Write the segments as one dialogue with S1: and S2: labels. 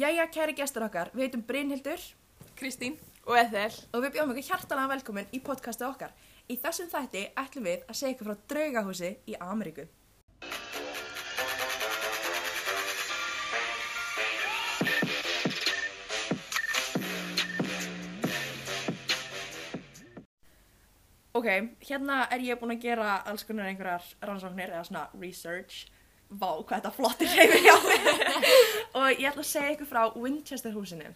S1: Jæja, kæri gestur okkar, við heitum Brynhildur
S2: Kristín og Ethel
S1: og við bjóðum ykkur hjartalega velkomin í podcastið okkar. Í þessum þætti ætlum við að segja ykkur frá draugahúsi í Ameríku. Ok, hérna er ég búin að gera alls konar einhverjar rannsóknir eða svona research. Vá, hvað þetta flottir reyfir hjá mig. og ég ætla að segja ykkur frá Winchester húsinu.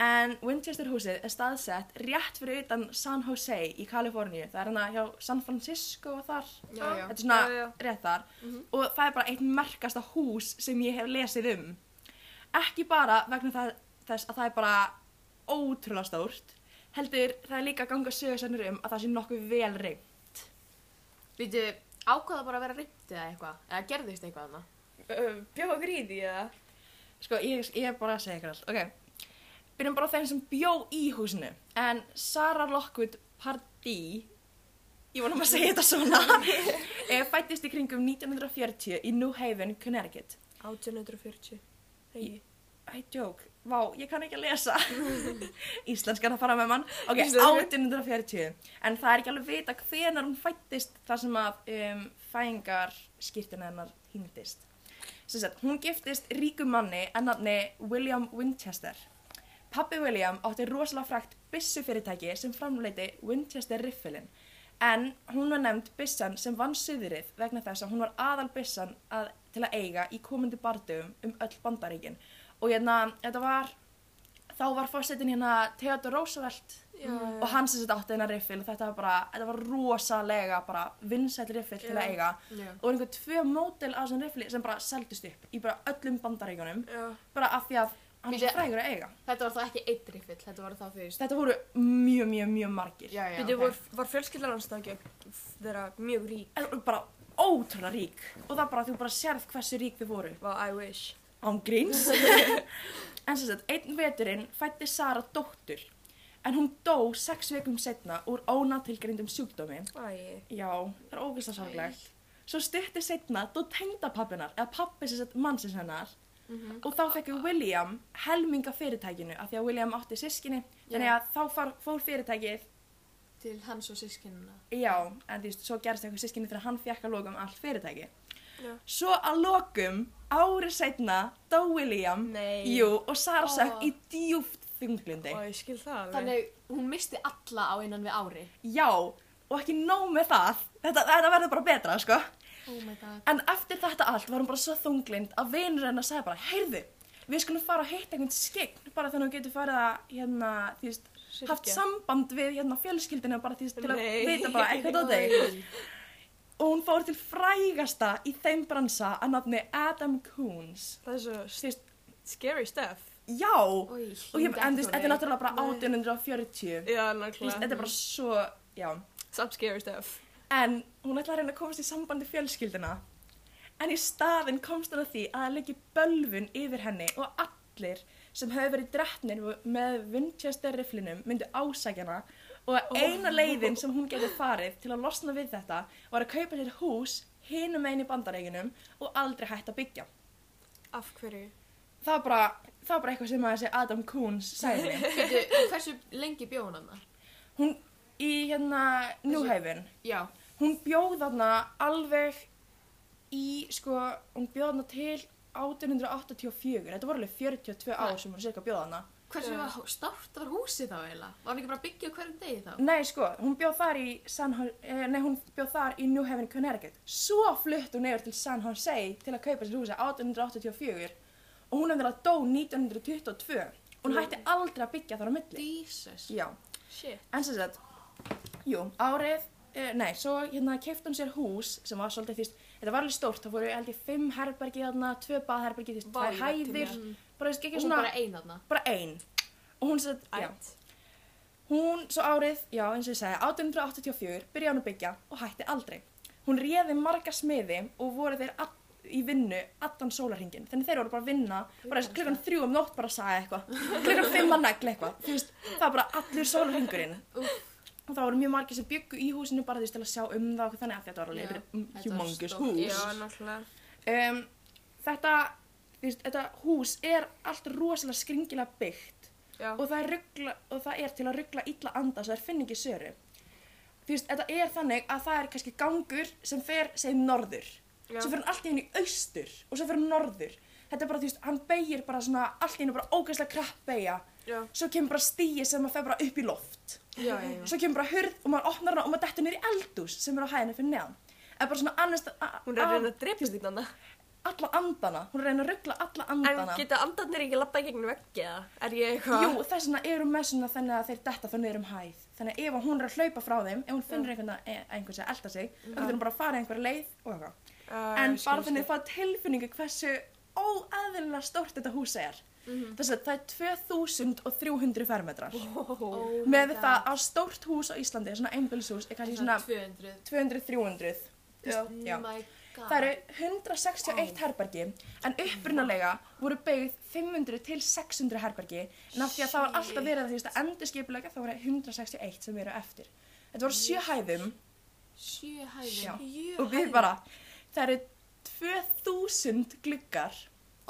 S1: En Winchester húsið er staðsett rétt fyrir utan San Jose í Kaliforníu. Það er hérna hjá San Francisco og þar.
S2: Já, já.
S3: Ah.
S1: Þetta er svona
S2: Já, já. Mhm.
S1: rétt þar. Og það er bara eitt merkasta hús sem ég hef lesið um. Ekki bara vegna það, þess að það er bara ótrúlega stórt. Heldur, það er líka að ganga sögursennir um að það sé nokkuð vel reynd.
S3: Býtu, ákvaða bara að vera rimt eða eitthvað? Eða gerðist eitthvað annað?
S2: Bjóð okkur í því eða
S1: Sko, ég, ég er bara að segja ykkur allt. Ok, byrjum bara á þeim sem bjó í húsinu. En Sarah Lockwood Pardee, ég vonum að segja þetta svona, eh, fættist í kringum 1940 í New Haven, Connecticut.
S2: 1840
S1: Nei. Æ, djók, vá, ég kann ekki að lesa. Íslenskan að fara með mann. Ok,
S2: Íslenskan.
S1: 1840. En það er ekki alveg vita hvenar hún fættist þar sem að um, fæðingar hennar hýndist. Sem sagt, hún giftist ríkum manni en nafni William Winchester. Pappi William átti rosalega frækt byssufyrirtæki sem framleiti Winchester riffilinn. En hún var nefnd byssan sem vann suðrið vegna þess að hún var aðal byssan að, til að eiga í komandi bardugum um öll bandaríkin. Og hérna, þetta var, þá var fórsetin hérna Theodor Roosevelt
S2: Já,
S1: og hann sem þetta átti hennar riffil og þetta var bara, þetta var rosalega bara vinsæll riffil til að
S2: Já.
S1: eiga.
S3: Já.
S1: Og einhver tvö mótil af þessum riffli sem bara seldust upp í bara öllum bandaríkunum
S2: já.
S1: bara af því að hann er
S3: Bíddu.
S1: svo frægur að eiga.
S3: Þetta var þá ekki eitt riffill, þetta var þá þú veist.
S1: Þetta voru mjög, mjög, mjög margir.
S3: Já, já.
S2: Býtu,
S3: ok.
S2: var, var fjölskyldan hans þá ekki að vera mjög rík?
S1: En bara ótrúlega rík og það bara, þú bara sérð hversu rík þið voru.
S2: Well, I wish
S1: Án gríns. en sem sagt, einn veturinn fætti Sara dóttur. En hún dó sex vikum setna úr ónatilgrindum sjúkdómi.
S2: Æ,
S1: Já, það er ógeðslega sorglegt. Svo stutti setna dó tengdapappinar, eða pappi sem sagt mannsins hennar. Og þá fekk William helminga fyrirtækinu af því að William átti sískinni. Þannig
S3: Já.
S1: að þá far, fór fyrirtækið,
S3: Til hans og sískinna.
S1: já, en þú veist, svo gerst eitthvað sískinni þegar hann fekk að lokum allt fyrirtæki.
S2: Já.
S1: Svo að lokum, ári setna, dó William
S3: Nei.
S1: Jú, og Sara
S3: Ó.
S1: sökk í djúft þunglundi.
S2: og ég skil það alveg
S3: Þannig, hún misti alla á innan við ári.
S1: Já, og ekki nóg með það. Þetta, þetta verður bara betra, sko.
S3: Oh my god.
S1: En eftir þetta allt var hún bara svo þunglind að vinur hennar sagði bara, heyrðu, við skulum fara að hitta einhvern skegn bara þannig að hún getur farið að, hérna, þú veist,
S2: Syrgja.
S1: haft samband við, hérna, fjölskyldina bara, þú veist, til að
S2: Nei.
S1: vita bara eitthvað á þig. Og hún fór til frægasta í þeim bransa að nafni Adam Coons.
S2: Það er svo
S1: Þú veist,
S2: scary stuff
S1: já, og
S3: Új,
S1: ég, en þú veist, þetta er náttúrulega bara
S2: Nei.
S1: 1840.
S2: Já,
S1: Þú veist,
S2: nákvæmlega
S1: þetta er bara svo, já.
S2: Samt scary stuff
S1: En hún ætlaði að reyna að komast í sambandi fjölskyldina. En í staðinn komst hún að því að það leggja bölvun yfir henni og allir sem höfðu verið drettnir með Winchester riflinum myndu ásækja hana og að eina leiðin sem hún getur farið til að losna við þetta var að kaupa sér hús hinum einu bandareikunum og aldrei hægt að byggja.
S2: Af hverju?
S1: Það var bara, það var bara eitthvað sem að þessi Adam Coons sagði mér.
S3: Býtu, hversu lengi bjó hún annað?
S1: Hún í hérna Núhæfinn
S3: Já.
S1: hún bjóð þarna alveg í, sko, hún bjóð þarna til 1884, þetta voru alveg 42 ár sem hún cirka bjóð þarna.
S3: Hversu
S2: Já.
S3: yeah. stárt var húsið þá eiginlega? Var hún ekki bara að byggja á hverjum degi þá?
S1: Nei, sko, hún bjóð þar í San Jose, eh, nei, hún bjóð þar í New Haven, Connecticut. Svo flutt hún yfir til San Jose til að kaupa sér húsi 1884 og hún hefði að dó 1922. Hún hætti aldrei að byggja þar á milli.
S3: Jesus.
S1: Já.
S2: Shit
S1: En sem sagt, jú, árið, uh, nei, svo hérna kefti hún sér hús sem var svolítið því, þetta var alveg stórt, það voru held ég fimm herbergi þarna, tvö baðherbergi, því,
S2: Vá,
S1: tvær
S2: ég veit til
S1: hæðir,
S3: mér.
S1: bara þess
S3: Og
S1: ekki
S3: hún
S1: svona,
S3: bara ein þarna.
S1: bara ein. Og hún sem sagt, já,
S2: Ætt
S1: hún svo árið, já eins og ég segi, 1884 byrjaði hún að byggja og hætti aldrei. Hún réði marga smiði og voru þeir all, í vinnu allan sólarhingin, þannig þeir voru bara að vinna, bara eins og klukkan þrjú um nótt bara að sagja eitthvað, klukkan fimm að negla eitthvað, þú veist, það var bara allur sólarhingurinn og það voru mjög margir sem byggu í húsinu bara því til að sjá um það og þannig að þetta var alveg
S3: Já,
S1: yeah.
S3: þetta var
S1: humongous
S3: stórt.
S1: hús
S2: Já, nákvæmlega
S1: um, þetta þú veist, þetta hús er allt rosalega skringilega byggt
S2: Já.
S1: og það er, rugla, og það er til að ruggla illa anda svo það finn ekki söru þú veist, þetta er þannig að það er kannski gangur sem fer, segjum, norður
S2: Já.
S1: svo fer hann allt í henni austur og svo fer hann norður þetta er bara, þú veist, hann beigir bara svona allt í henni bara ógæslega krapp beigja
S2: Já.
S1: svo kemur bara stíi sem að fer bara upp í loft
S2: Já, já, já.
S1: svo kemur bara hurð og maður opnar hana og maður dettur niður í eldús sem er á hæðinu fyrir neðan en bara svona annars
S2: Hún
S1: Ah.
S2: er að reyna að drepa þig þarna.
S1: alla andana, hún er að reyna að ruggla alla andana
S2: En geta andarnir ekki labbað í gegnum veggi eða? Er ég eitthvað?
S1: Jú, þess vegna eru með svona þannig að þeir detta þá niður um hæð. Þannig að ef að hún er að hlaupa frá þeim, ef hún finnur einhvern að e- einhvern sem elda sig, þá getur hún bara að fara einhver leið og eitthvað.
S2: Uh,
S1: En bara þannig að fá tilfinningu hversu óaðilega stórt þetta hús er. Þess að það er 2300 fermetrar.
S2: Oh.
S1: Með það að stórt hús á Íslandi, svona einbjölshús, er kannski svona
S3: 200
S1: 200-300.
S2: Já.
S1: Já.
S3: Oh my god
S1: Það eru 161 herbergi en upprunalega voru byggð 500 til 600 herbergi en af því að það var alltaf verið að því að endurskipulega þá voru 161 sem eru eftir. Þetta voru sjö hæðum
S3: Sjö hæðir
S1: Já.
S2: Jú.
S1: og við bara, það eru 2000 gluggar,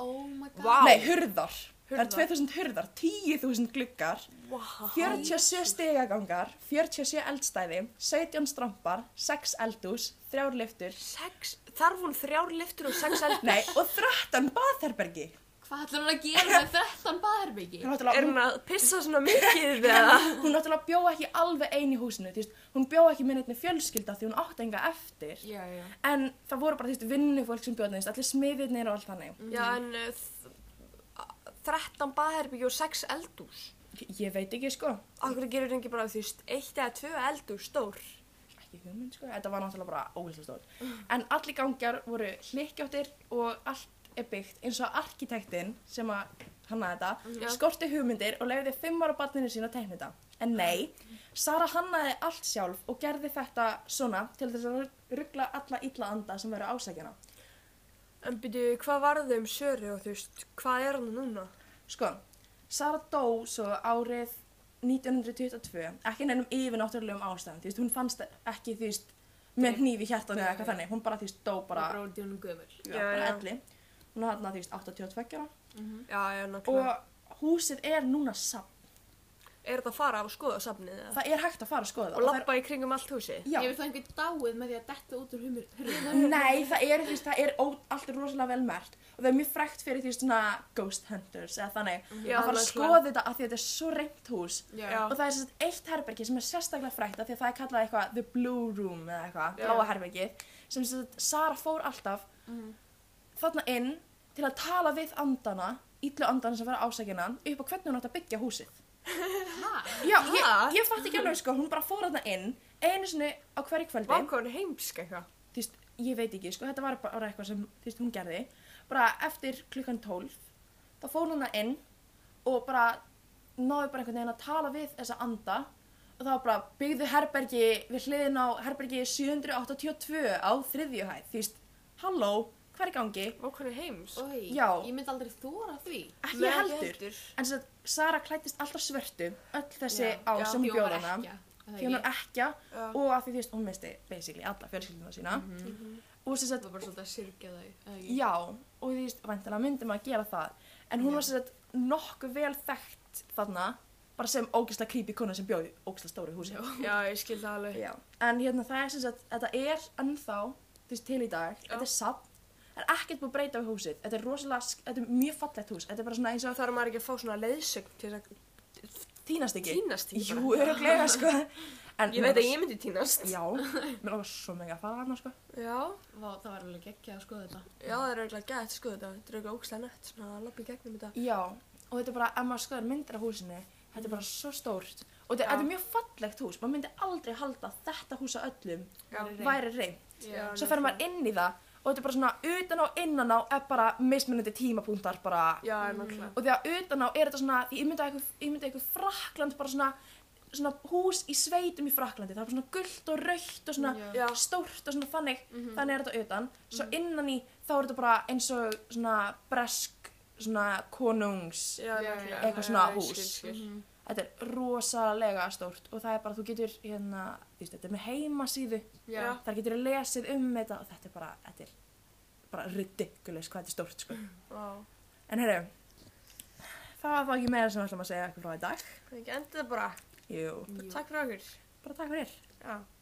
S3: Oh my god
S2: Vá.
S1: nei hurðar, það eru
S2: Hurðar.
S1: 2000 hurðar, 10.000 gluggar,
S2: Wow.
S1: 47 stegagangar, 47 eldstæði, 17 strampar, 6 eldús, 3 liftur,
S2: Sex, þarf hún þrjár liftur og sex eldar?
S1: nei og 13 baðherbergi.
S3: Hvað ætlar hún að gera með 13 baðherbyggi?
S1: Þannig að
S2: Er hún að pissa svona mikið eða?
S1: hún náttúrulega bjó ekki alveg ein í húsinu þú veist, hún bjó ekki með neittni fjölskylda því hún átti enga eftir
S3: Já, já
S1: en það voru bara þú veist, vinnufólk sem bjóði allir smiðirnir og allt þannig
S2: Já, en uh, þ- a- 13 baðherbyggi og 6 eldús.
S1: ég veit ekki sko,
S2: Akkur gerur það ekki bara því eitt eða tvö eldús stór.
S1: ekki hugmynd sko þetta var náttúrulega bara óherslu stór en allir gangar voru hlikkjáttir og allt er byggt eins og arkitektinn sem að hanna þetta
S2: Já.
S1: skorti hugmyndir og leiði fimm ára barninu sín að teikna þetta en nei, Sara hannaði allt sjálf og gerði þetta svona til þess að ruggla alla illa anda sem veru ásækjana
S2: En byrju, hvað varði um Söru og þú veist, hvað er hann núna?
S1: Sko, Sara dó svo árið 1922, ekki nefnum yfirnáttúrulegum ástæðum, þú veist, hún fannst ekki, þú veist, með hníf í hjartanu eða eitthvað þannig, hún bara, þú veist, dó bara,
S3: Bara úr djónum gömur
S1: já,
S2: Já,
S1: bara
S2: já.
S1: elli, hún var þarna, þú veist, 82 ára
S2: Já, já, náttúrulega.
S1: og húsið er núna safn,
S2: Er þetta að fara af skoða safnið eða?
S1: það er hægt að fara að skoða það
S2: Og
S1: það er-
S2: lappa í kringum allt húsið?
S1: Já,
S3: Hefur það einhvern dáið með því að detta út úr humur hurðinni?
S1: Nei, það er, þú veist, það er ó, allt er rosalega vel mert og það er mjög frekt fyrir því svona ghost hunters eða þannig
S2: Já, sko.
S1: að fara að
S2: nákvæmlega.
S1: skoða þetta af því að þetta er svo reynt hús
S3: Já.
S1: og það er sérst eitt herbergi sem er sérstaklega frekt af því að það er kallað eitthvað the blue room eða eitthvað,
S2: Já.
S1: bláa herbergið sem sérst Sara fór alltaf þarna inn til að tala við andana, illu andana sem vera ásækina upp á hvernig hún átt að byggja húsið
S3: Ha?
S1: Já, ég,
S2: Ha?
S1: ég fatt ekki alveg sko, hún bara fór þarna inn einu sinni á hverju kvöldi
S2: Vákon heimsk eitthvað.
S1: þú veist, ég veit ekki, sko, þetta var bara eitthvað sem, þú veist, hún gerði, bara eftir klukkan 12, þá fór hún það inn og bara náði bara einhvern veginn að tala við þessa anda og það var bara byggðu herbergi við hliðin á herbergi 782 á þriðju hæð, þú veist, halló, hvað er í gangi?
S2: Vákon heims.
S3: Oi,
S1: Já.
S3: Ég myndi aldrei þóra því
S1: Ekki heldur. En þess að Sara klættist alltaf svörtu öll þessi
S3: Já,
S1: ár
S2: já,
S1: sem hún
S3: Því hún
S1: bjóð
S3: var
S1: hana.
S3: ekkja, er það
S1: Því hún er
S3: ekki?
S1: ekkja
S2: Já.
S1: og að því þú veist, hún misti basically alla fjölskyldina sína. Og þess
S3: Það
S1: að
S3: var bara svolítið að syrgja þau eða ekki?
S1: Já, og þú veist, væntanlega myndi maður að gera það. En hún
S3: Já.
S1: var sér að nokkuð vel þekkt þarna, bara sem ógisla creepy kona sem bjóði ógisla stóru húsi.
S2: Já, ég skil það alveg.
S1: Já. En hérna það er sem sagt, þetta er ennþá, þú veist, til í dag,
S2: Já.
S1: þetta er safn, það er ekkert búið að breyta við húsið, þetta er rosalega, sk- þetta er mjög fallegt hús, þetta er bara svona eins og
S2: Þarf maður ekki að fá svona leiðsögn til að
S1: það týnast ekki.
S2: týnast ekki
S1: Jú, öruglega, sko. En,
S2: Ég veit að ég myndi týnast.
S1: Já, mér langar svo mega að fara þarna, sko.
S2: Já,
S3: Vá, það var alveg geggjað að skoða þetta
S2: já, það er auðvitað gætt, sko, þetta þetta er auðvitað ógstlega nett, svona að lappa í gegnum þetta.
S1: Já, og þetta er bara, ef maður skoðar myndir af húsinu, þetta er bara svo stórt. Og þetta,
S2: Já.
S1: þetta er mjög fallegt hús, maður myndi aldrei halda að þetta hús á öllum
S3: Reynt.
S1: væri reynd.
S3: Já.
S1: Svo fer maður inn í það og þetta er bara svona utan á innan á er bara mismunandi tímapunktar bara.
S2: Já, nákvæmlega.
S1: Og því að utan á er þetta svona, því ég myndi eitthvað, ég myndi eitthvað Frakland bara svona, svona hús í sveitum í Fraklandi, það er bara svona gullt og rautt og svona
S3: Já. Mhm.
S2: Já,
S1: stórt og svona þannig, þannig er þetta utan svo innan í þá er þetta bara eins og svona bresk svona konungs
S2: já,
S3: Já,
S2: nákvæmlega.
S3: já,
S1: eitthvað svona
S2: Já, ég
S1: hús.
S2: skil, skil.
S3: Mhm.
S1: þetta er rosalega stórt og það er bara, þú getur hérna þú veist, þetta er með heimasíðu
S3: Já.
S1: þar getur þú lesið um þetta og þetta er bara, þetta er bara ridiculous hvað þetta er stórt sko
S2: Vá.
S1: En heyrðu, það var þá ekki meira sem við ætlum að segja ykkur frá í dag.
S2: Ekki endið bara.
S1: Jú,
S3: Jú.
S2: Takk fyrir okkur.
S1: bara takk fyrir.
S2: Já.